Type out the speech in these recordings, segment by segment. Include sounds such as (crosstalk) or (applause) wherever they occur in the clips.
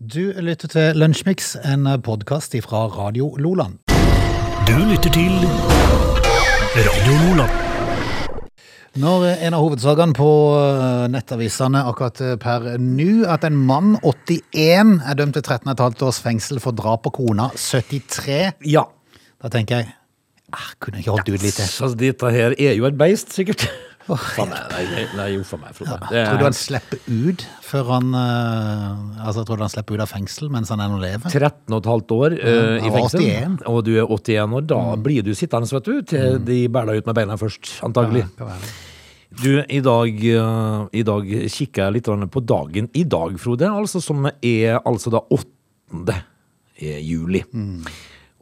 Du lytter til Lunsjmix, en podkast fra Radio Loland. Du lytter til Radio Lola. Når en av hovedsakene på eh, nettavisene akkurat eh, per nå, at en mann, 81, er dømt til 13,5 års fengsel for drap på kona, 73, Ja. da tenker jeg ah, Kunne jeg ikke holdt ut litt til? Så dette her er jo et beist, sikkert. for meg, nei, nei, nei, jo for meg. For meg. Det Ah, Tror du er han slipper ut før han eh, Altså, tror du han slipper ut av fengsel mens han ennå lever? 13 og et halvt år eh, Ja, i fengsel, 81. og du er 81 år. Da Mm. blir du sittende, vet du, til de bærer deg ut med beina først, antagelig. Kan være. Du, i dag, eh, i dag kikker jeg litt grann på dagen i dag, Frode, altså, som er altså da 8. juli. Mm.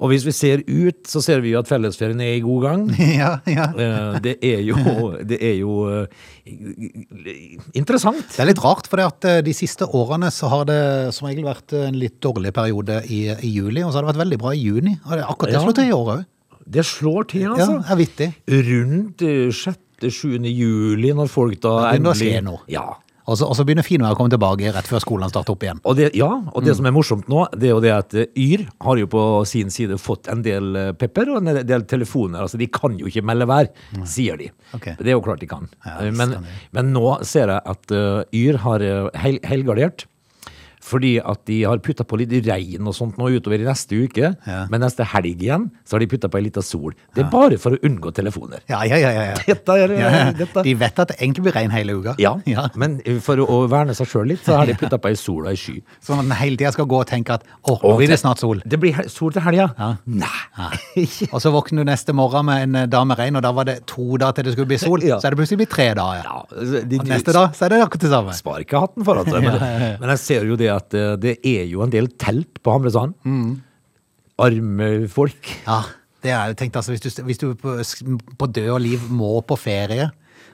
Og hvis vi ser ut, så ser vi jo at fellesferien er i god gang. (laughs) Ja, ja. Eh, Det er (laughs) jo, det er jo eh, interessant. Det er litt rart, for det at eh, de siste årene så har det som regel vært eh, en litt dårlig periode i, i juli, og så har det vært veldig bra i juni. Og det er akkurat det Ja. slår til i år òg. Det slår til, Ja, altså. er vittig. Rundt 6.-7. juli, når folk da Det begynner å skje nå. Ja. Og så, og så begynner finværet å komme tilbake rett før skolen starter opp igjen. Og det, ja, og det som er morsomt nå, det er jo det at eh, Yr har jo på sin side fått en del eh, pepper og en del telefoner. Altså, de kan jo ikke melde vær, sier de. Ok. Det er jo klart de kan. Ja, Eh, men, stemmer. men nå ser jeg at eh, Yr har eh, hel helgardert. Fordi at de har putta på litt regn og sånt nå utover i neste uke. Ja. Men neste helg igjen så har de putta på ei lita sol. Det er bare for å unngå telefoner. Ja, ja, ja. ja, ja. (laughs) Dette er, Ja, dette. De vet at det egentlig blir regn hele uka. Ja, men eh, for å verne seg sjøl litt, så har de putta på ei sol og ei sky. Sånn at en hele tida skal gå og tenke at å, nå blir det snart (laughs) sol. Det blir he- sol til helga. Ja. Nei. Og så våkner du neste morgen med en eh, dag med regn, og da var det to dager til det skulle bli sol. Ja. Så er det plutselig blitt tre dager. Ja. (laughs) Ja, altså, de, Og neste dag så er det akkurat det samme. Spar ikke hatten foran seg. (laughs) Men, men jeg ser jo det at eh, det er jo en del telt på Hamresand. Mm. Arme folk. Ja, det er jo tenkt altså, hvis du, hvis du på, på død og liv må på ferie,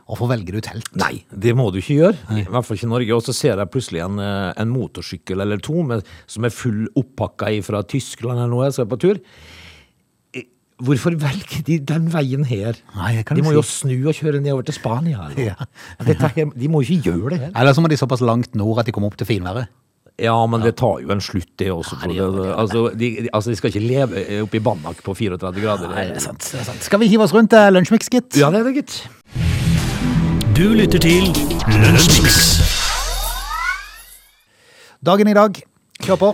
hvorfor velger du telt? Nei, det må du ikke gjøre. I hvert fall ikke i Norge. Og så ser jeg plutselig en, eh, en motorsykkel eller to med, som er full oppakka fra Tyskland eller noe, som er på tur. Eh, Hvorfor velger de den veien her? Nei, det kan de du må si. jo snu og kjøre nedover til Spania. (laughs) Eller? Ja. noe. Dette her, de må jo ikke gjøre det her. Eller så må de såpass langt nord at de kommer opp til finværet. Ja, men det tar jo en slutt, det Ja, også. det Frode. gjør det. altså, de, de- altså, de skal ikke leve eh, oppe i Banak på 34 grader. Skal vi hive oss rundt eh, lunsjmix, gitt? Ja, det er det, gitt. Du lytter til Lunsjmix. Dagen i dag. Kjør på.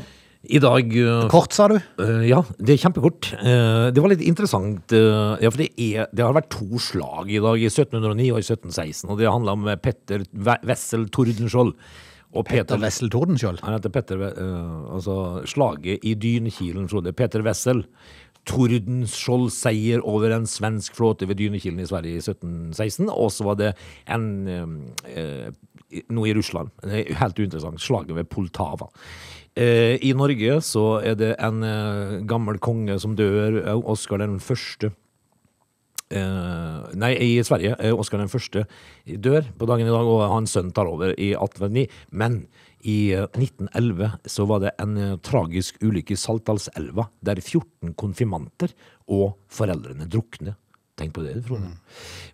I dag eh, Kort, sa du. eh, Ja, det er kjempekort. Eh, Det var litt interessant. eh, Ja, for det, er, det har vært to slag i dag, i 1709 og i 1716. Og det handla om eh, Petter Ve- Wessel Tordenskjold. Og Peter Wessel Tordenskjold. Han heter Petter Ve- eh, Altså slaget i Dynekilen, Frode. Petter Wessel. Tordenskjold-seier over en svensk flåte ved Dynekilen i Sverige i 1716. Og så var det en eh, eh, Noe i Russland. Det er Helt uinteressant. Slaget ved Poltava. Eh, I Norge så er det en eh, gammel konge som dør. Oskar den første. Eh, nei, i Sverige. eh, Oskar den første dør på dagen i dag, og hans sønn tar over i 1829. Men i eh, 1911 så var det en eh, tragisk ulykke i Saltdalselva, der 14 konfirmanter og foreldrene drukner. Tenk på det, Frode.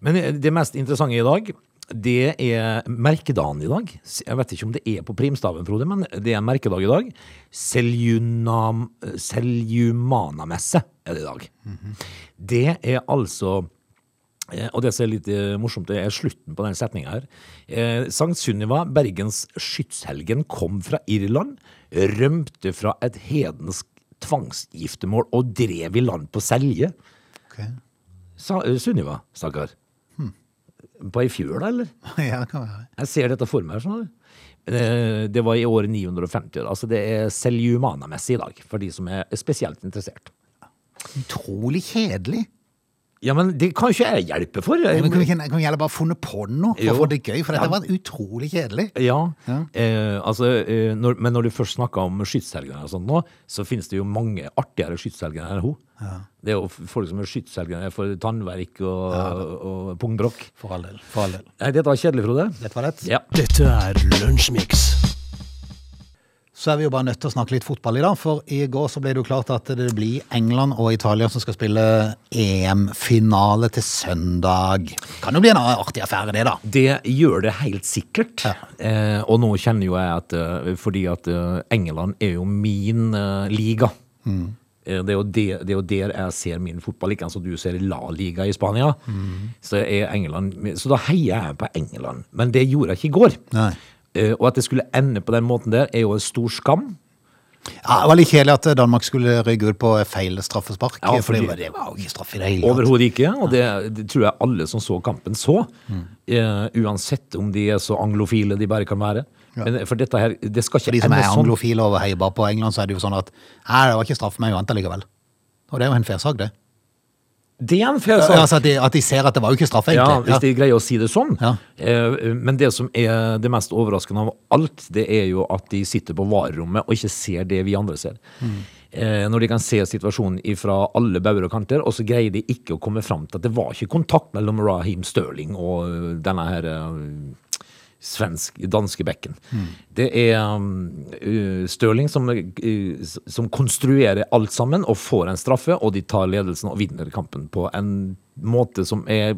Men eh, det mest interessante i dag, det er merkedagen i dag. S- Jeg vet ikke om det er på primstaven, Frode, men det er en merkedag i dag. Seljunam- Seljumanamesse er det i dag. Det er altså eh, og det som er litt eh, morsomt, det er slutten på den setninga her. Eh, Sankt Sunniva, Bergens skytshelgen, kom fra Irland, rømte fra et hedensk tvangsgiftermål og drev i land på Selje. Sa, eh, Sunniva, stakkar. På ei fjøl, eller? (laughs) Ja, det kan være. Jeg ser dette for meg. Sånn. Eh, Det var i året 950. Altså det er Seljumana-messig i dag, for de som er spesielt interessert. Utrolig kjedelig. Ja, men det kan jo ikke jeg hjelpe for. Men Kunne vi ikke- kunne vi heller bare funnet på noe for Jo. å få det gøy? For dette Ja. var utrolig kjedelig. Ja, Ja. Eh, altså, eh, når, men når du først snakker om skytshelgener og sånt nå, så finnes det jo mange artigere skytshelgener enn hun. Det er jo f- folk som er skytshelgener for tannverk og, og pungbrokk. For all del. For all del. Nei, dette var kjedelig, Frode. Dette var lett. Ja. Dette er Lunsjmix. så er vi jo bare nødt til å snakke litt fotball i dag. For i går så ble det jo klart at det blir England og Italia som skal spille EM-finale til søndag. Kan jo bli en artig affære, det, da. Det gjør det helt sikkert. Eh, og nå kjenner jo jeg at eh, Fordi at eh, England er jo min eh, liga. Mm. Eh, Det er, jo det, det er jo der jeg ser min fotball, ikke som du ser La Liga i Spania. Mm. Så, er England, så da heier jeg på England. Men det gjorde jeg ikke i går. Nei. Eh, og at det skulle ende på den måten der, er jo en stor skam. Ja, det var litt kjedelig at Danmark skulle rygge ut på feil straffespark. Ja, for det fordi- var- det var jo ikke straff i det hele tatt. Overhodet ikke. Og det, det tror jeg alle som så kampen, så. Mm. Eh, uansett om de er så anglofile de bare kan være. Men, eh, for dette her, det skal ikke For de som ende er sånn. anglofile og heier bare på England, så er det jo sånn at Nei, det var ikke straff, men vi vant allikevel. Og det er jo en fair sak, det. Det er en fair Ja, sak. altså at, de, at de ser at det var jo ikke straff, Ja, egentlig. hvis de greier å si det sånn. Ja. Eh, Men det som er det mest overraskende av alt, det er jo at de sitter på varerommet og ikke ser det vi andre ser. Mm. Eh, Når de kan se situasjonen fra alle bauger og kanter, og så greier de ikke å komme fram til at det var ikke kontakt mellom Raheem Sterling og eh, denne her eh, svensk, danske bekken. Mm. Det er um, uh, Stirling som, uh, som konstruerer alt sammen og får en straffe, og de tar ledelsen og vinner kampen på en måte som er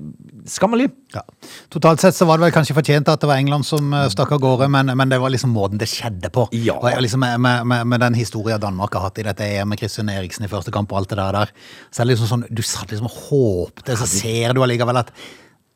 skammelig. Ja. Totalt sett så var det vel kanskje fortjent at det var England som eh, stakk av gårde, men, men det var liksom måten det skjedde på. Ja. Og jeg liksom med, med, med, med den historien Danmark har hatt i dette EM, med Christian Eriksen i første kamp og alt det der, der så er det liksom sånn, du satt liksom og håpte, så ser du allikevel at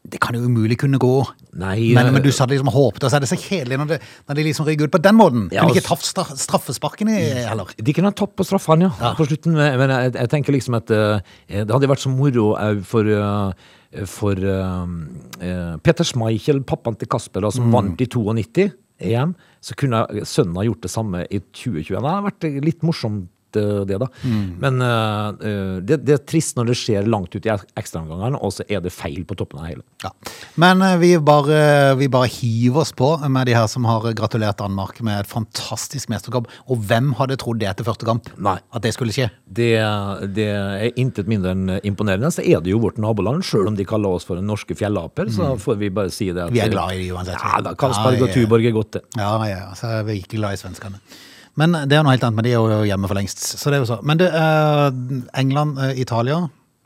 det kan jo umulig kunne gå. Nei, men, eh, men du satt liksom og håpte, og så er det så kjedelig når, det, når de liksom rygger ut på den måten. Ja, Mm. kunne altså- ikke tatt stra straffesparken i heller. De kunne ha tapt på straffene, ja, på slutten. Men men jeg, jeg tenker liksom at eh, det hadde vært så moro eh, for eh, for eh, eh, Peter Schmeichel, pappaen til Kasper, da, som vant i 92 EM, så kunne eh, sønnen ha gjort det samme i 2021. Det hadde vært litt morsomt, eh, det, da. Men eh, eh, det, det er trist når det skjer langt ut i ek- ekstraomgangene, og så er det feil på toppen av det hele. Ja. Men eh, vi bare, vi bare hiver oss på med de her som har gratulert Danmark med et fantastisk mesterkamp. Og hvem hadde trodd det etter første kamp? Nei. At det skulle skje? Det, det er intet mindre enn eh, imponerende. Så er det jo vårt naboland, sjøl om de kaller oss for norske fjellaper. Så får vi bare si det. At, Mm. Vi er glad i de uansett. Ja, da, Ja, Karlsberg ja, og ja. Tuborg er godt, det. Ja, ja, ja. så er vi ikke glad i svenskene. Men det er jo noe helt annet, men de er jo hjemme for lengst. Så det er jo så. Men det, eh, England, eh, Italia,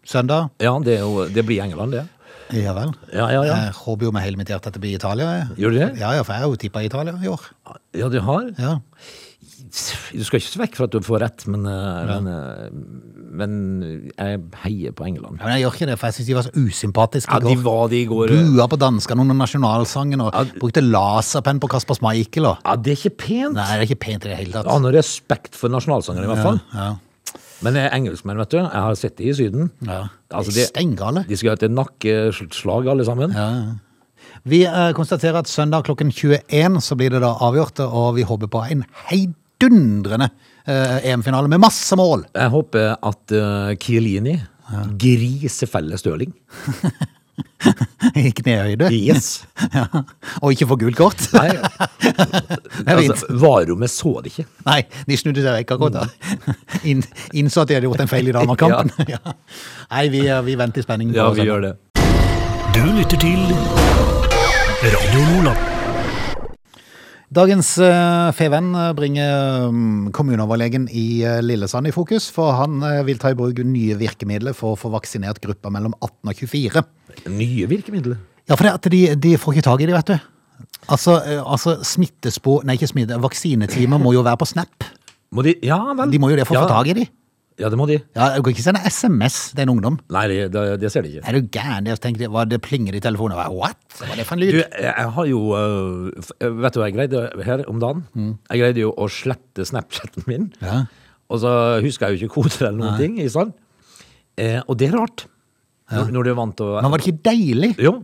søndag. Ja, det, er jo, det blir England, det. Ja vel. Ja, ja, ja. Jeg håper jo med hele mitt hjerte at det blir Italia. jeg. Gjør du det? Ja, ja, for jeg har jo tippa Italia i år. Ja, du har. Ja. Du skal ikke se vekk fra at du får rett, men, eh, men, eh, men jeg heier på Ja, England. men jeg gjør ikke det, for jeg syns de var så usympatiske Ja, i går. de var det i går. eh, Bua på danskene under nasjonalsangen og brukte laserpenn på Kasper Schmeichel. Og. Ja, det er ikke pent. Nei, det er ikke pent i det hele tatt. Han har respekt for nasjonalsangeren, i hvert fall. Ja, Men jeg er engelskmenn, vet du. Jeg har sett de i Syden. ja. Altså, de er det- steingale. De skal ha et nakkeslag, alle sammen. Ja, ja. Vi eh, konstaterer at søndag klokken 21 så blir det da avgjort, og vi håper på en heidundrende eh, EM-finale med masse mål. Jeg håper at uh, Chiellini grisefeller Stirling. I knehøyde. Yes. Ja. Og ikke for gult kort. (laughs) Nei, (laughs) Det er fint. altså, varerommet så det ikke. Nei, de snudde seg vekk akkurat Mm. (laughs) da. In, innså at de hadde gjort en (laughs) feil i Danmark-kampen. (laughs) ja. Nei, vi, eh, vi venter i spenning. på Ja, vi søndag. gjør det. Du lytter til Radio Nordland. Dagens uh, Feven eh, bringer mm, kommuneoverlegen i eh, Lillesand i fokus, for han eh, vil ta i bruk nye virkemidler for å få vaksinert gruppa mellom 18 og 24. Nye virkemidler. Ja, for det at de, de får ikke tak i de, vet du. Altså, eh, altså smittespor... Nei, ikke smitte... Vaksinetimer må jo være på Snap. Må de Ja vel. De må jo det for å ja. få tak i de. Ja, det må de. Ja, du kan ikke sende SMS til en ungdom. Nei, det, det, det ser de ikke. Er du gæren? Jeg tenkte, hva, det plinger i telefonen. Hva- What? Hva er det for en Du, lyd? jeg- jeg har jo øh, f- Vet du hva jeg greide her om dagen? Jeg greide jo å slette Snapchatten min. Mm. Ja. Og så husker jeg jo ikke koder eller noen ting. Ikke sant? Eh, og det er rart. Når, når du er vant til å Men var det ikke deilig? Jo.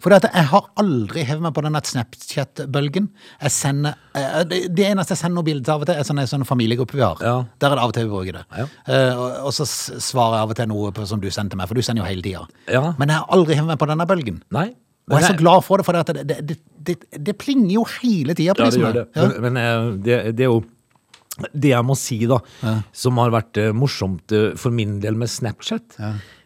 For det at jeg har aldri hevet meg på den Snapchat-bølgen. Jeg sender, eh, det det eneste jeg sender noen bilder av og til, er sånne, sånne familiegrupper vi har. Ja. Der er det av og til vi bruker det. Ja. Eh, og, og så s- svarer jeg av og til noe på, som du sendte meg, for du sender jo hele tida. Ja. Men jeg har aldri hevet meg på denne bølgen. Nei. Og jeg er så Nei. glad for det, for det, at det, det, det, det, det plinger jo hele tida. Ja, det gjør det. liksom. Ja. Men, men eh, det, det er jo det jeg må si, da, som har vært eh, morsomt eh, for min del med Snapchat,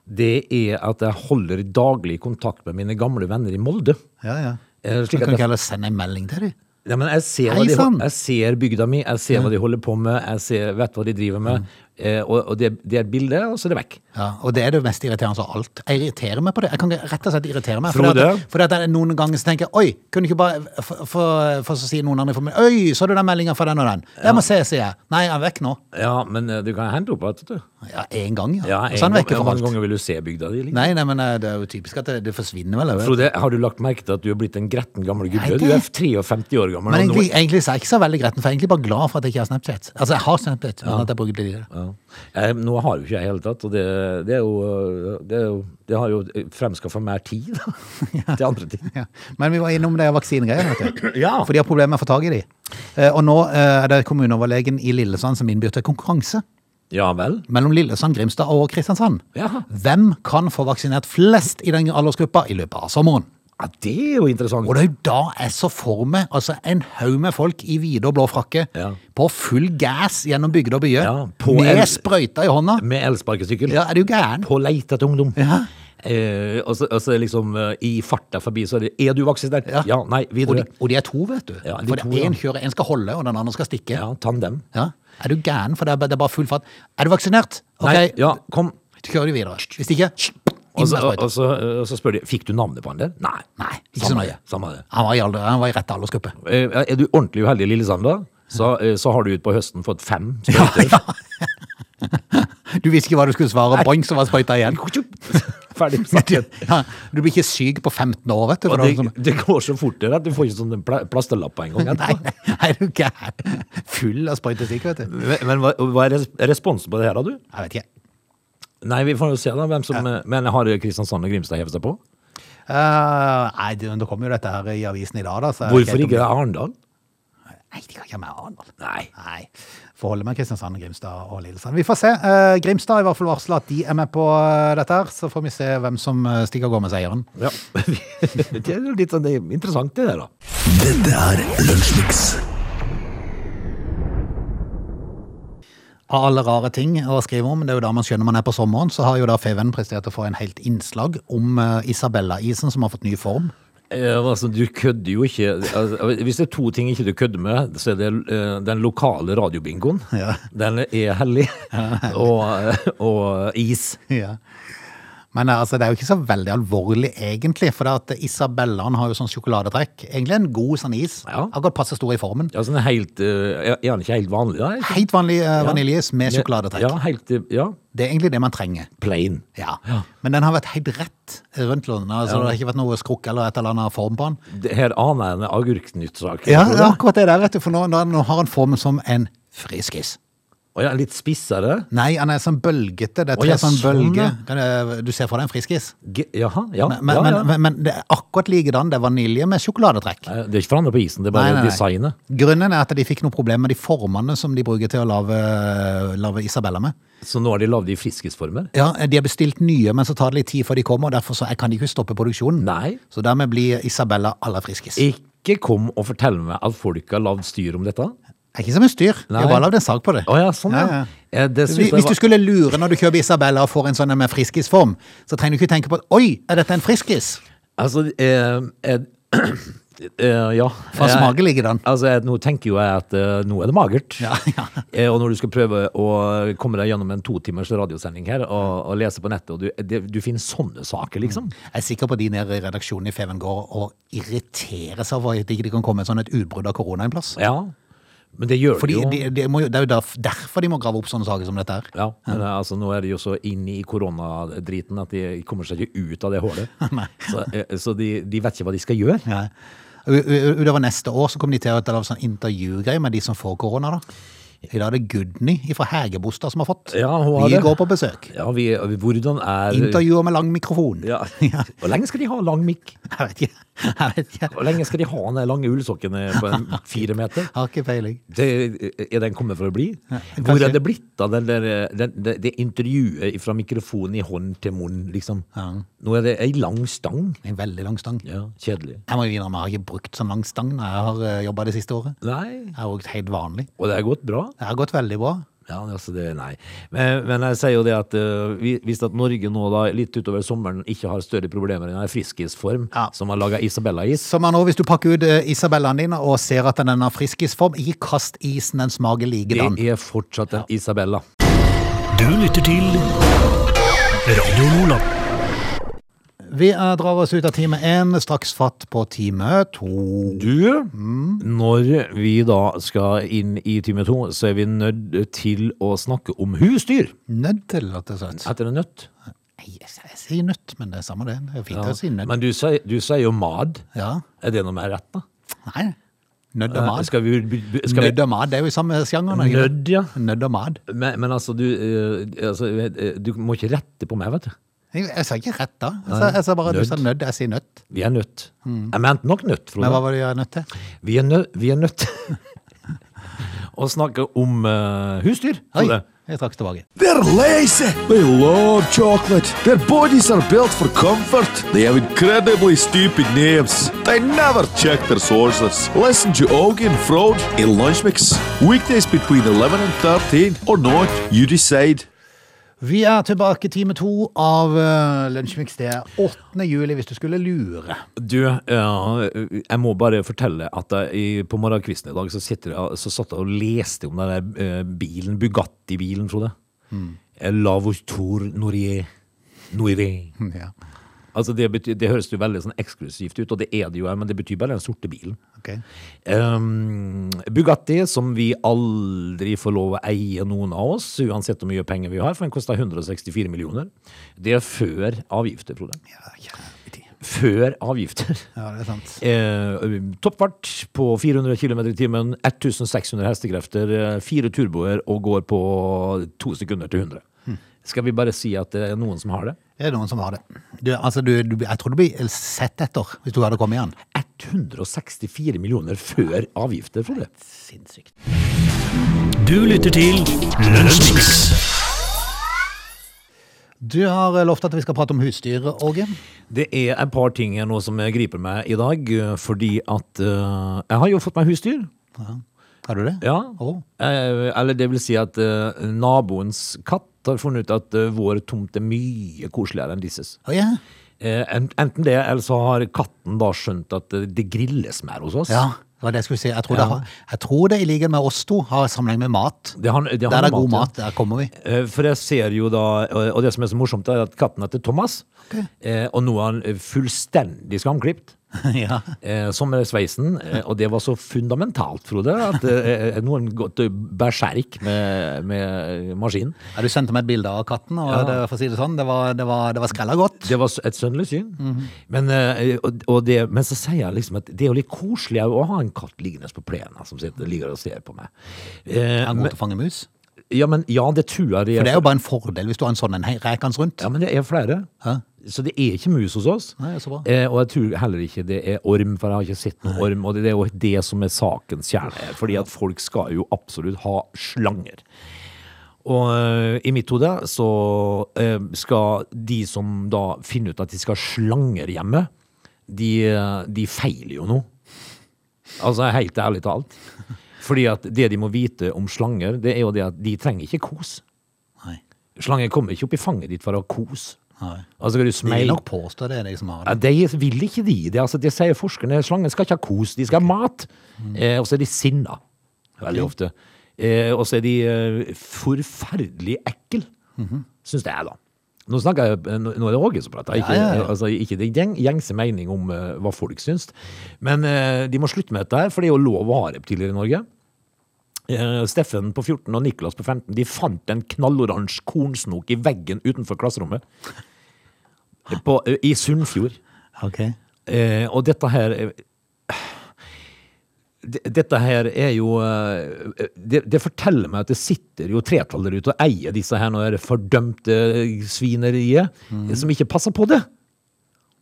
det er at jeg holder daglig kontakt med mine gamle venner i Molde. Ja, ja. Eh, Så Slik kan at ikke jeg, heller sende en melding til dem. Ja, men jeg ser, hva de, Heisann! jeg ser bygda mi, jeg ser hva de holder på med, jeg ser, vet hva de driver med. Eh, og og det, det er et bilde, og så er det vekk. Ja, og det er det mest irriterende av alt. Jeg irriterer meg på det. Jeg kan ikke rett og slett irritere meg. Frode? Fordi at, fordi at jeg noen ganger så tenker jeg, oi, kunne ikke bare for, for, for så sier noen andre for meg, oi, så du den meldingen fra den og den? Jeg må se, sier jeg. Nei, han er vekk nå. Ja, men eh, du kan hente opp igjen, vet du. Ja, en gang, ja. Ja, Og så er han vekke for mange alt. ganger vil du se bygda di. Liksom. Nei, nei, men eh, det er jo typisk at det, det forsvinner vel. jeg vet. Frode, har du lagt merke til at du er blitt en gretten gammel gubbe? Nei, Du det- er 53 år gammel. Men og nå- egentlig, egentlig så er jeg ikke så veldig gretten, for jeg er egentlig bare glad for at jeg ikke har Snapchat. Altså, jeg har Snapchat, men at jeg bruker det lite. Ja. Jeg, nå har jo ikke jeg i hele tatt, og det, det, er jo, det, er jo, det har jo fremskaffa mer tid da, til andre ting. (laughs) Ja. Men vi var innom det vaksinegreiene, vet du. (clears throat) Ja. For de har problemer med å få tak i de. Eh, Og nå eh, er det kommuneoverlegen i Lillesand som innbyr til konkurranse ja vel. mellom Lillesand, Grimstad og Kristiansand. Ja. Hvem kan få vaksinert flest i den aldersgruppa i løpet av sommeren? Ja, det er jo interessant. Og det er jo da jeg så for meg altså en haug med folk i hvite og blå frakke Ja. på full gass gjennom bygder og byer Ja, på med en- sprøyta i hånda. Med elsparkesykkel. Ja, er du gæren? På leit etter ungdom. Ja. Eh, og så og så liksom eh, i farta forbi, så er det Er du vaksinert? Ja. nei, Og videre. de, og de er to, vet du. Ja, de for to, det er ja. en kjører, en skal holde, og den andre skal stikke. Ja, tandem. Ja. Er du gæren? For det er, bare- det er bare full fart. Er du vaksinert? Ok, Nei, ja, kom. så kjører de videre. Hvis ikke inn Og med så, og, sprøyta. og så, og så spør de Fikk du navnet på han der? Nei. Nei, ikke så Samme nøye. det, Samme det. Han var i, alder, han var i rett aldersgruppe. Eh, Er du ordentlig uheldig i Lillesand, da, så, eh, så har du utpå høsten fått fem Ja, sprøyter. (laughs) ja. Du visste ikke hva du skulle svare. Boing, så var sprøyta igjen. Ferdig med saken. (laughs) Ja, du blir ikke syk på 15 år, vet du. for Og det er det, sånn- det går så fort der at du får ikke sånne pla- plasterlapper (laughs) engang. Nei, etterpå. nei, nei, er du gæren? Full av sprøytestikk, vet du. Men, men hva, hva er res- responsen på det her, da, du? Jeg vet ikke. Nei, vi får jo se da hvem som eh, Men har Kristiansand og Grimstad hevet seg på? Eh, nei, det, det kommer jo dette her i avisen i dag, da. Så jeg vet Hvorfor om ikke det- Arendal? Nei, de kan ikke ha med Arendal. Nei. Nei. Forholder meg Kristiansand, Grimstad og Lillesand. Vi får se. Eh, Grimstad har i hvert fall varsla at de er med på eh, dette, her, så får vi se hvem som eh, stikker av gårde med seieren. Ja. (laughs) det er jo litt sånn det er interessant, det der, da. Dette er Lunsjmix. Av alle rare ting å skrive om, det er jo da man skjønner man er på sommeren, så har jo da Feven prestert å få en helt innslag om eh, Isabella-isen som har fått ny form. (laughs) Eh, altså, du kødder jo ikke altså, Hvis det er to ting ikke du kødder med, så er det eh, den lokale radiobingoen. Ja. Den er hellig. Og, eh, og is. Ja. Men eh, altså, det er jo ikke så veldig alvorlig egentlig, for det at Isabellaen har jo sånn sjokoladetrekk. Egentlig en god sånn is. Ja. Akkurat passe stor i formen. Ja, sånn helt eh, Er den ikke helt vanlig, da? ikke? Helt vanlig eh, vaniljeis med sjokoladetrekk. Ja, helt eh, Ja. Det er egentlig det man trenger. Plain. Ja. Ja. Men den har vært helt rett rundt Lund. Altså, Ja. Det har ikke vært noe skrukk eller et eller annet form på den. Det her aner jeg en agurknyttsak. Ja, det er akkurat det der, vet du. For nå, nå, nå har han formen som en friskis. Og jeg er litt spissere. Nei, han er sånn bølgete. Det er Å, tre ja, sånn sånn, ja. bølger. Kan jeg- Du ser for deg en friskis. G jaha, ja. Men, men, ja, ja. men, men, men det er akkurat likedan. Det er vanilje med sjokoladetrekk. Nei, det er ikke forandret på isen, det er bare designet. Grunnen er at de fikk noe problem med de formene som de bruker til å lage, lage Isabella med. Så nå har de lagd det i friskisformer? Ja, De har bestilt nye, men så tar det litt tid før de kommer. og Derfor så jeg kan ikke stoppe produksjonen. Nei. Så dermed blir Isabella aller friskis. Ikke kom og fortell meg at folk har lagd styr om dette. Å Det er ikke som en styr. Nei. Jeg har bare lagd en sak på det. ja, sånn ja. Ja, ja. Eh, Det Hvis, synes jeg hvis du var... skulle lure når du kjøper Isabella og får en sånn en med friskisform, så trenger du ikke tenke på at oi, er dette en friskis? Altså, eh, eh, eh, (clears throat) ja. Fra Eh, smaken ligger den. Altså, jeg, nå tenker jo jeg at eh, nå er det magert. Ja, (laughs) ja. Eh, og når du skal prøve å komme deg gjennom en to timers radiosending her, og, og lese på nettet, og du, det, du finner sånne saker, liksom. Jeg er sikker på de nede i redaksjonen i Feven går og irriterer seg over at ikke det kan komme sånn et utbrudd av korona en plass. Ja. Men det gjør Fordi det jo. de, de må jo, Det er jo derf- derfor de må grave opp sånne saker som dette her. Ja, men eh, altså nå er de jo så inn i koronadriten at de kommer seg ikke ut av det (laughs) hullet. så eh, så de, de vet ikke hva de skal gjøre. Ja. U- u- Utover neste år så kommer de til å ha sånn intervjugreie med de som får korona. da. I dag er det Gudny fra Hegebostad som har fått. Ja, hun har vi det. går på besøk. Ja, vi, hvordan er Intervjuer med lang mikrofon. Ja. Ja. Hvor lenge skal de ha lang mikk? Jeg vet ikke. Jeg vet ikke. Hvor lenge skal de ha den der lange ullsokken (laughs) på en fire meter? Har ikke peiling. Det, er den kommet for å bli? kanskje. Hvor er det blitt av den der, den, det, det intervjuet fra mikrofonen i hånd til munn, liksom? Ja. Nå er det ei lang stang. En veldig lang stang. Ja, kjedelig. Jeg må jo innrømme, jeg har ikke brukt sånn lang stang når jeg har jobba det siste året. Nei. Jeg har brukt helt vanlig. Og det er gått bra. Det har gått veldig bra. Ja, altså det, nei. Men, men jeg sier jo det at eh, vi- hvis at Norge nå da, litt utover sommeren ikke har større problemer enn en friskisform Ja. som har laga Isabella-is Som er nå, hvis du pakker ut eh, Isabellaen din og ser at den har friskisform, ikke kast isen dens mage Det likedan. er fortsatt en Isabella. Du lytter til Radio Lola. Vi eh, drar oss ut av time én, straks fatt på time to. Du, når vi da skal inn i time to, så er vi nødt til å snakke om husdyr. Nødt til, rett og slett. Heter det nøtt? Nei, Jeg jeg sier nøtt, men det er samme det. Det er fint å si nøtt. Men du sier, du sier jo mad. Ja. Er det noe mer rett, da? Nei. Nødd og mad. Skal vi, skal vi Nødd og mad, det er jo i samme sjanger. er det ikke det? Nødd, ja. Nødd og mad. Men, men altså, du, eh, altså, eh, du må ikke rette på meg, vet du. Jeg, jeg sa ikke rett da. Jeg sa, jeg sa bare at du Nødd. sa nødd, jeg sier nøtt. Vi er nødt. Jeg mente nok nødt, Mm. Men Frode. hva var det jeg er nødt til? Vi er, nø vi er nødt (laughs) å snakke om eh, husdyr. Oi, Frode. jeg trakk tilbake. They're lazy. They love chocolate. Their bodies are built for comfort. They have incredibly stupid names. They never check their sources. Listen to Augie and Frode in Lunch Mix. Weekdays between 11 and 13 or not, you decide. Vi er tilbake time to av uh, Lunsjmix. Det er 8. juli, hvis du skulle lure. (laughs) Du, ja, jeg må bare fortelle at jeg, i- på morgenkvisten i dag så, sitter jeg, så satt jeg og leste om den der eh, bilen, Bugatti-bilen, Frode. Eh, La Vautour Nourier. Noiré. Ja, Altså det, betyr, det høres jo veldig sånn eksklusivt ut, og det er det jo, men det betyr bare den sorte bilen. ok. Ehm, Bugatti, som vi aldri får lov å eie noen av oss, uansett hvor mye penger vi har, for den koster 164 millioner. Det er før avgifter, Frode. Ja, jævlig tid. Før avgifter. ja, det er sant. Eh, toppfart på 400 km i timen, 1600 hestekrefter, eh, fire turboer og går på to sekunder til 100. Skal vi bare si at det er noen som har det? Det er noen som har det. Du, altså, du, du, jeg tror du blir sett etter hvis du hadde kommet igjen. 164 millioner før avgifter, Frode. Sinnssykt. Du lytter til Lunsjmix. Du har eh, lovt at vi skal prate om husdyr, Åge. Det er et par ting her nå som griper meg i dag, eh, fordi at eh, jeg har jo fått meg husdyr. Har du det? Ja. Å. Eh, eller det vil si at eh, naboens katt har funnet ut at eh, vår tomt er mye koseligere enn disses. Å, ja. Eh, en- enten det, eller så har katten da skjønt at eh, det grilles mer hos oss. Ja, det var det jeg skulle si. Jeg tror, det, har- jeg tror det i likhet med oss to har sammenheng med mat. Det har- det har Der er det god ja. mat, der kommer vi. Eh, For jeg ser jo da, og det som er så morsomt er at katten heter Thomas, eh, og nå er han eh, fullstendig skamklipt. (laughs) ja. Eh, som med sveisen, eh, og det var så fundamentalt, Frode, at eh, noen gått eh, berserk med, med maskinen. Ja, Du sendte meg et bilde av katten, og Ja. det, for å si det sånn, det var, det var, det var skrella godt. Det var s- et sønnelig syn. Mhm. men, eh, og, og det, men så sier jeg liksom at det er jo litt koselig å ha en katt liggende på plenen som sitter, ligger og ser på meg. Eh, Er han men, god til å fange mus? ja, men, ja, det tror jeg For det er. det er jo bare en fordel hvis du har en sånn en hei- rekans rundt. Ja, men det er flere. Hæ? Så det er ikke mus hos oss. Nei, så bra. Eh, og jeg tror heller ikke det er orm, for jeg har ikke sett noen orm. Og det er jo det som er sakens kjerne. her, Fordi at folk skal jo absolutt ha slanger. Og eh, i mitt hode så eh, skal de som da finner ut at de skal ha slanger hjemme, de, eh, de feiler jo noe. Altså helt ærlig talt. Fordi at det de må vite om slanger, det er jo det at de trenger ikke kos. Nei. Slanger kommer ikke opp i fanget ditt for å ha kos. Nei. Altså, skal du De vil smelle nok påstå det, de som har ja, det. De vil ikke de. Det, altså, det sier forskerne. Slangen skal ikke ha kos, de skal ha mat. Eh, og så er de sinna, veldig ofte. Eh, og så er de eh, forferdelig ekkel, syns jeg, da. Nå, snakker jeg, nå nå er det Åge som prater, ikke, Ja, ja, ja. Altså, ikke det gjeng, gjengse mening om eh, hva folk syns. Men eh, de må slutte med dette her, for det er jo lov å ha reptiler i Norge. Eh, Steffen på 14 og Niklas på 15 De fant en knalloransje kornsnok i veggen utenfor klasserommet på, eh, i Sunnfjord. Ok. Eh, og dette her eh, d- Dette her er jo eh, det, det forteller meg at det sitter jo tretall der ute og eier disse her når fordømte eh, svineriet Mm. som ikke passer på det.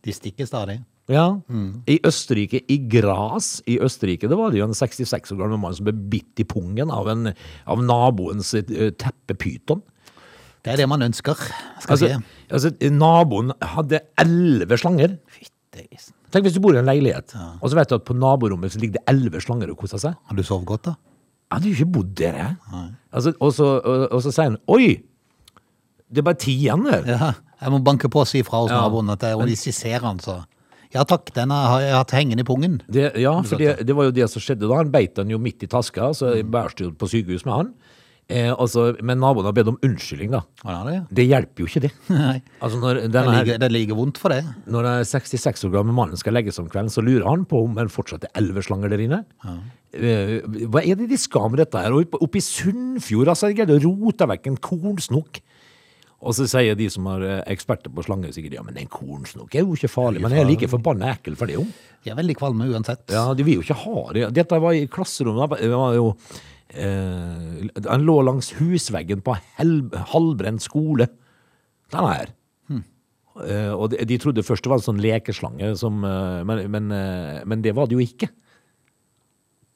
De stikker stadig. Ja. I Østerrike, i Gras i Østerrike, det var det jo en 66 år gammel mann som ble bitt i pungen av, en, av naboens eh, teppepyton. Det er det man ønsker, skal Altså, jeg si. altså, naboen hadde elleve slanger. Fytte isen. Tenk hvis du bor i en leilighet, og så vet du at på naborommet så ligger det elleve slanger og koser seg. Har du sovet godt, da? Jeg hadde jo ikke bodd der, jeg. Altså, og, så, og, og så sier han Oi! Det er bare ti igjen der. Ja, jeg må banke på og si fra hos Ja. naboen at jeg- og de skisserer han, så. Ja takk, den har jeg hatt hengende i pungen. Det, ja, for det, det var jo det som skjedde da. Han beit han jo midt i taska, så jeg bærste jo på sykehus med han. Eh, altså, men naboen har bedt om unnskyldning, da. Ja, det, er det. Det hjelper jo ikke, det. Nei. Altså, når Det, denne, her, ligger, det ligger vondt for det. når den 66 år gamle mannen skal legges om kvelden, så lurer han på om han fortsatt er elveslanger der inne. Eh, Hva er det de skal med dette her? Og Oppe oppe i Sunnfjord, altså, de greide å rote vekk en kornsnokk. Og så sier de som er eh, eksperter på slanger, sikkert ja, men en kornsnokk er jo ikke farlig. Men jeg er like forbanna ekkel for det, jo. De er veldig kvalme uansett. Ja, de vil jo ikke ha det. Dette var i klasserommet. Det var jo eh, Den lå langs husveggen på hel, halvbrent skole. Den her. Hm. Eh, og de, de trodde først det var en sånn lekeslange, som, eh, men, men, eh, men det var det jo ikke.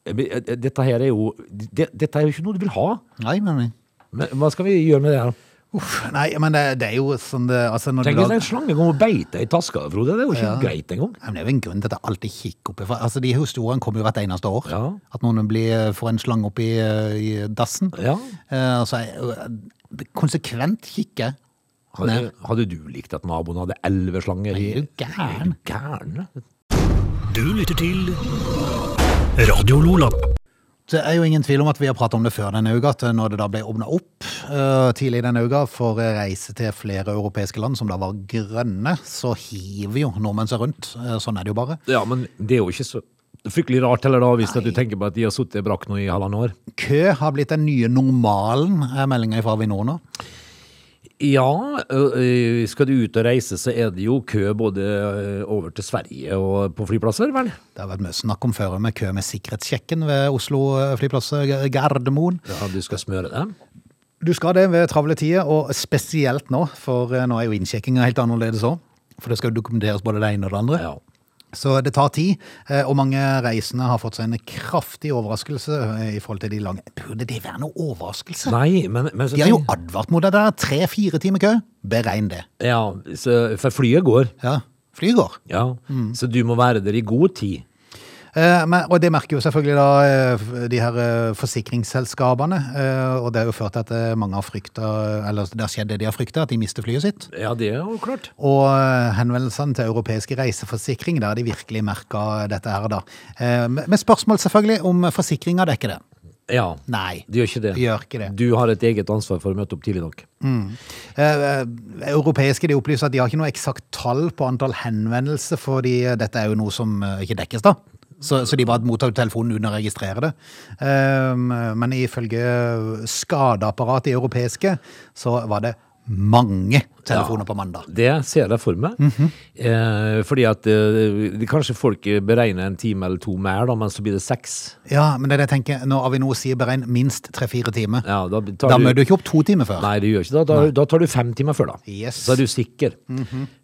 Eh, men, eh, Dette her er jo det, Dette er jo ikke noe du vil ha. Nei, men, Men hva skal vi gjøre med det her? uff, nei, men det, det er jo sånn det altså, når du Tenk hvis lager- en slange kommer og beiter i taska, Frode. Det er jo ikke Ja. greit engang. Ja, men Det er jo en grunn til at jeg alltid kikker oppi. for- Altså, de historiene kommer jo hvert eneste år. Ja. At noen blir, eh, får en slange oppi i dassen. Ja. Eh, altså, jeg, konsekvent kikker. Hadde, hadde du likt at naboen hadde elleve slanger? i- Er du gæren? Er du gæren? Du lytter til Radio Lola. Det er jo ingen tvil om at vi har pratet om det før denne uka, at når det da ble åpna opp eh, tidlig denne uka for reise til flere europeiske land som da var grønne, så hiver jo nordmenn seg rundt. Eh, sånn er det jo bare. Ja, men det er jo ikke så fryktelig rart heller da, hvis at du tenker på at de har sittet brakk nå i halvannet år. Kø har blitt den nye normalen, er meldinga fra Avinor nå. Ja, ø, ø, skal du ut og reise, så er det jo kø både ø, over til Sverige og på flyplasser, vel? Det har vært mye snakk om før med kø med sikkerhetssjekken ved Oslo eh, flyplass eh, Gardermoen. Ja, du skal smøre dem. Du skal det ved travle tider, og spesielt nå, for eh, nå er jo innsjekkinga helt annerledes òg. For det skal jo dokumenteres både det ene og det andre. Ja. Så det tar tid, eh, og mange reisende har fått seg en kraftig overraskelse eh, i forhold til de lange. Burde det være noe overraskelse? Nei, men, men så De har jo tenk- advart mot det der. Tre-fire timer kø. Beregn det. Ja, så, for flyet går. Ja, flyet går. Ja, så du må være der i god tid. Eh, Men, og det merker jo selvfølgelig da eh, f- de her eh, forsikringsselskapene. eh, Og det har jo ført til at eh, mange har frykta, eller det har skjedd det de har frykta, at de mister flyet sitt. Ja, det er jo klart. Og eh, henvendelsene til europeiske reiseforsikring, der har de virkelig merka dette her, da. Eh, Med med spørsmål selvfølgelig om forsikringa dekker det. Ja, Nei. det gjør ikke det. Det gjør ikke det. Du har et eget ansvar for å møte opp tidlig nok. Eh, eh, europeiske de opplyser at de har ikke noe eksakt tall på antall henvendelser, fordi eh, dette er jo noe som eh, ikke dekkes, da. Så, så de bare mottar telefonen uten å registrere det. Um, men ifølge skadeapparatet i europeiske, så var det mange telefoner på mandag. Det ser jeg for meg. Mhm. eh, fordi at eh, det- kanskje folk beregner en time eller to mer, da, men så blir det seks. Ja, men det er det jeg tenker, når Avinor sier beregn minst tre-fire timer, Ja, da, tar da møter du ikke opp to timer før. Nei, det gjør ikke det. Da, da tar du fem timer før, da. Yes. Mhm. Så er du sikker.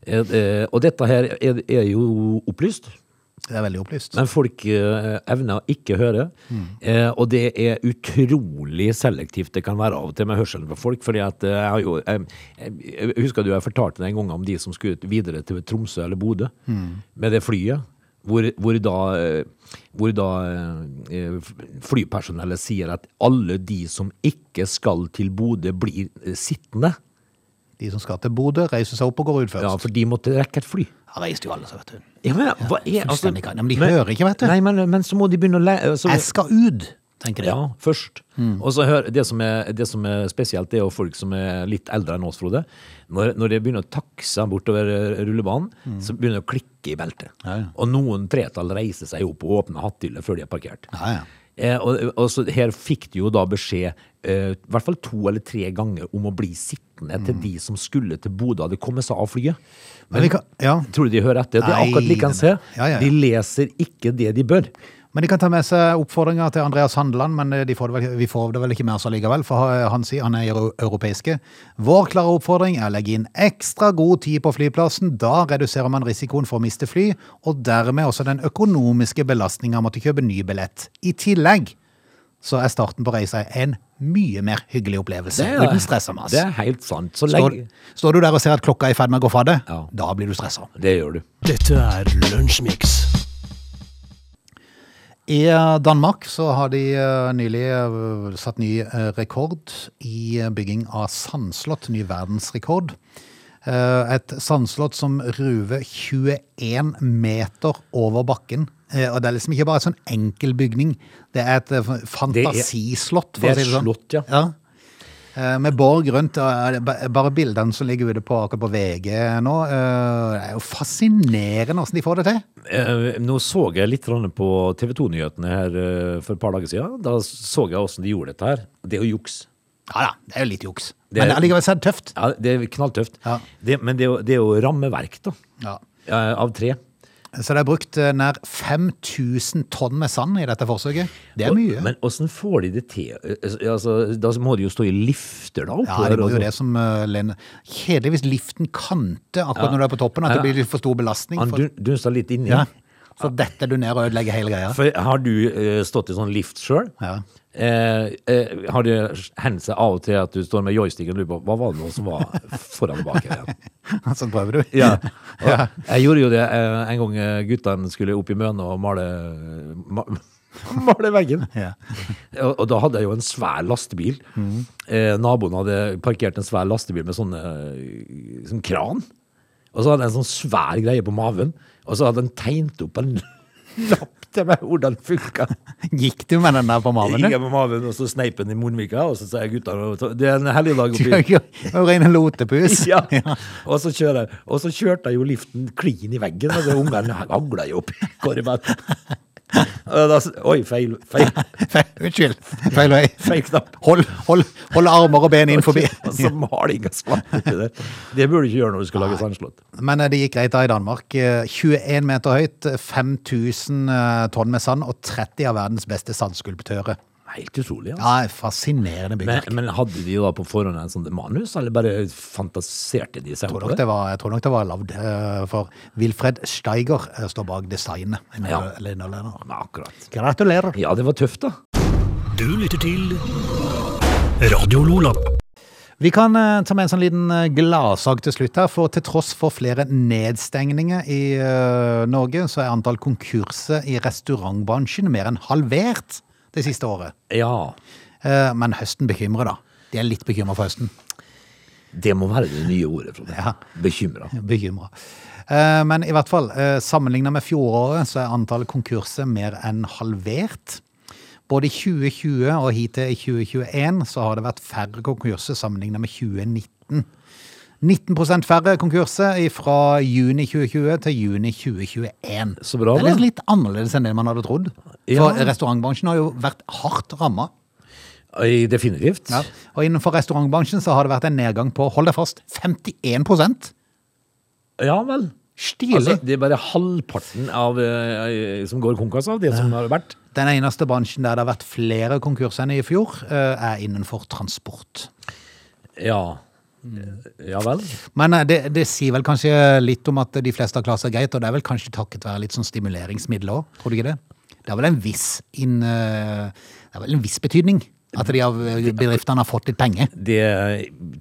eh, eh, og dette her er, er jo opplyst, Det er veldig opplyst. men folk eh, evner å ikke høre. Eh, og det er utrolig selektivt det kan være av og til med hørselen på folk. fordi at eh, jeg har jo, jeg, jeg, jeg husker du jeg fortalte deg en gang om de som skulle ut videre til Tromsø eller Bodø med det flyet. Hvor, hvor da, eh, hvor da eh, flypersonellet sier at alle de som ikke skal til Bodø, blir eh, sittende. De som skal til Bodø, reiser seg opp og går ut Ja, først. for de måtte rekke et fly. Ja, reiste jo alle seg, vet du. Ja, men, hva er, altså, fullstendig kan- Ja, men de hører ikke, vet du. Nei, men, men så må de begynne å lære Jeg skal ut, tenker de. Ja, først. Mm. Og så hør, det som, er, det som er spesielt, det er jo folk som er litt eldre enn oss, Frode. Når, når de begynner å takse bortover eh, rullebanen, så begynner de å klikke i beltet. Mm. Ja, ja. Og noen tretall reiser seg opp og åpner hatthyller før de er parkert. Ja, ja. Eh, og, og så her fikk de jo da beskjed eh, i hvert fall to eller tre ganger om å bli sittende til de som skulle til Bodø hadde kommet seg av flyet. Mm. Men vi kan, ja. Tror du de hører etter? Det er Nei, akkurat likeens her. nei, nei. Ja, ja, ja. De leser ikke det de bør. Men de kan ta med seg oppfordringer til Andreas Handeland, men eh, de får det vel, vi får det vel ikke med oss allikevel, for han sier han er euro- europeiske. Vår klare oppfordring er å legge inn ekstra god tid på flyplassen. Da reduserer man risikoen for å miste fly, og dermed også den økonomiske belastningen av å måtte kjøpe ny billett. I tillegg så er starten på reisa en mye mer hyggelig opplevelse, uten stress og mas. det er helt sant. Så Står, lenge står du der og ser at klokka er i ferd med å gå fra deg, Ja. da blir du stressa. Det gjør du. Dette er Lunsjmix. I eh, Danmark så har de eh, nylig eh, satt ny eh, rekord i eh, bygging av sandslott. Ny verdensrekord. Eh, Et sandslott som ruver 21 meter over bakken. Eh, Og det er liksom ikke bare en sånn enkel bygning. Det er et eh, fantasislott, for å det er si det sånn. slott, ja. Eh, Med borg rundt. og er det ba- Bare bildene som ligger ute på akkurat på VG nå. eh, Det er jo fascinerende åssen de får det til. Eh, Nå så jeg litt grann på TV 2-nyhetene her eh, for et par dager siden. Da så jeg hvordan de gjorde dette her. Det er jo juks. Ja da, det er jo litt juks. Det Men er- allikevel så er det tøft. Ja, det er knalltøft. Ja. Det, men det er, jo, det er jo rammeverk, da. Ja. eh, Av tre. Så det er brukt eh, nær 5000 tonn med sand i dette forsøket. Det er Og- mye. Men åssen får de det til? Eh, Altså, da må de jo stå i lifter, da? altså. Ja, det var jo det som eh, Lene Kjedelig hvis liften kanter akkurat Ja. når du er på toppen, at det Ja. blir litt for stor belastning. Han For, dun- dunsta litt inni. ja. for dette du ned og ødelegger hele greia. For har du eh, stått i sånn lift sjøl? Ja. (laughs) Eh, eh, har det hendt seg av og til at du står med joysticken og lurer på hva var det nå som var foran og bak her? igjen? Så prøver du. Ja. Og Jeg gjorde jo det eh, en gang eh, guttene skulle opp i Møne og male, ma, (laughs) male veggen. (laughs) Ja. Og, og da hadde jeg jo en svær lastebil. Eh, naboen hadde parkert en svær lastebil med sånne, eh, sånn kran. Og så hadde jeg en sånn svær greie på maven, og så hadde han tegnet opp en (laughs) lapp til meg hvordan det funka. Gikk du med den der på maven? Gikk din? jeg på maven, og så sneip den i munnvika, og så sa jeg guttene Det er en hellig dag Du (laughs) oppi er jo du er jo ren lotepus. ja. Og, så kjører, jeg- og så kjørte jeg jo liften klin i veggen, og så ungene hagla jo opp i korven. (laughs) Og da s- Oi, feil, feil, Fe- (laughs) Unnskyld. Feil vei. feil knapp. Hold, hold, hold armer og ben inn forbi. (laughs) Og så maling og svart oppi der. Det burde du ikke gjøre når du skal lage sandslott. Men eh, det gikk greit da i Danmark. Eh, 21 meter høyt, 5000 eh, tonn med sand og 30 av verdens beste sandskulptører. Helt utrolig. Altså. Ja, fascinerende Men, byggverk. men hadde de da på forhånd en sånn manus, eller bare fantaserte de seg Jeg opp tror, nok det var, jeg tror nok det var lavd, eh, for Wilfred Steiger eh, står bak designet. Eller- Ja. eller innholdet. Ja, Akkurat. Gratulerer! Ja, det var tøft, da. Du lytter til Radio Lola. Vi kan eh, ta med en sånn liten eh, gladsak til slutt her, for til tross for flere nedstengninger i eh, Norge, så er antall konkurser i restaurantbransjen mer enn halvert det siste året. Ja. Eh, Men høsten bekymrer, da. De er litt bekymra for høsten. Det må være det nye ordet. Frode. Ja. Bekymra. Bekymra. Eh, Men i hvert fall, sammenligna med fjoråret, så er antallet konkurser mer enn halvert. Både i 2020 og hittil i 2021 så har det vært færre konkurser sammenligna med 2019. 19 færre konkurser fra juni 2020 til juni 2021. Så bra, det er liksom da. litt annerledes enn det man hadde trodd. Ja. For restaurantbransjen har jo vært hardt ramma. Oi, Definitivt. Ja. Og innenfor restaurantbransjen så har det vært en nedgang på, hold deg fast, 51 ja vel. Stilig. Altså, det er bare halvparten av, eh, som går konkurs av det som har vært. Den eneste bransjen der det har vært flere konkurser enn i fjor, eh, er innenfor transport. Ja. ja vel. Men eh, det, det sier vel kanskje litt om at de fleste har klart seg greit, og det er vel kanskje takket være litt sånn stimuleringsmidler òg, tror du ikke det? Det er vel en viss, inn, eh, det er vel en viss betydning at de av eh, bedriftene har fått litt penger. Det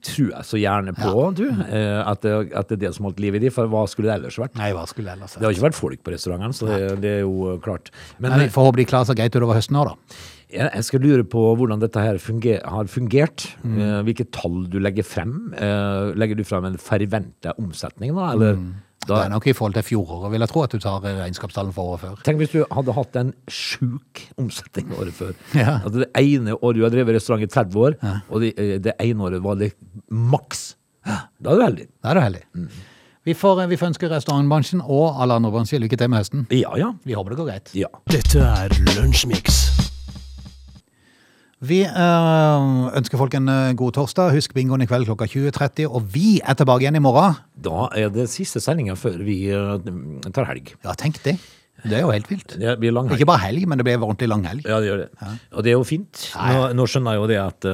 tror jeg så gjerne på, du. eh, At det, at det er det som holdt liv i de, for hva skulle det ellers vært? Nei, hva skulle det ellers Det har ikke vært folk på restauranten, så det, det er jo eh, klart. Men Men vi får håpe de klarer seg greit utover høsten òg, da. Jeg, jeg skal lure på hvordan dette her funger, har fungert. Mm. Eh, hvilke tall du legger frem. Eh, legger du frem en forventa omsetning, da? Eller, Mm. da Det er nok i forhold til fjoråret, vil jeg tro, at du tar eh, regnskapstallene for året før. Tenk hvis du hadde hatt en sjuk omsetning året før. Ja. At det ene året du har drevet restaurant i 30 år, og det, eh, det ene året var det maks. Da er du heldig. Da er du heldig. Vi, får, eh, vi får ønske restaurantbransjen og alle andre bransjer lykke til med høsten. Ja, ja. Vi håper det går greit. ja. Dette er Lunsjmix. Vi eh, ønsker folk en eh, god torsdag. Husk bingoen i kveld klokka 20.30. Og vi er tilbake igjen i morgen. Da er det siste sendinga før vi eh, tar helg. Ja, tenk det. Det er jo helt vilt. Det blir lang helg. Ikke bare helg, men det blir ordentlig lang helg. Ja, det gjør det. Og det er jo fint. Nå, nå skjønner jeg jo det at,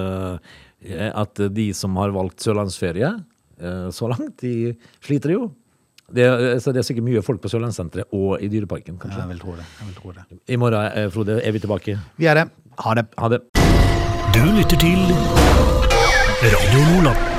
eh, at de som har valgt sørlandsferie eh, så langt, de sliter jo. Det, er- så det er sikkert mye folk på Sørlandssenteret og i Dyreparken, kanskje. Jeg vil tro det. Jeg vil tro det. I morgen, eh, Frode, er vi tilbake. Vi er det. Ha det. Ha det. Du lytter til Radio Lola.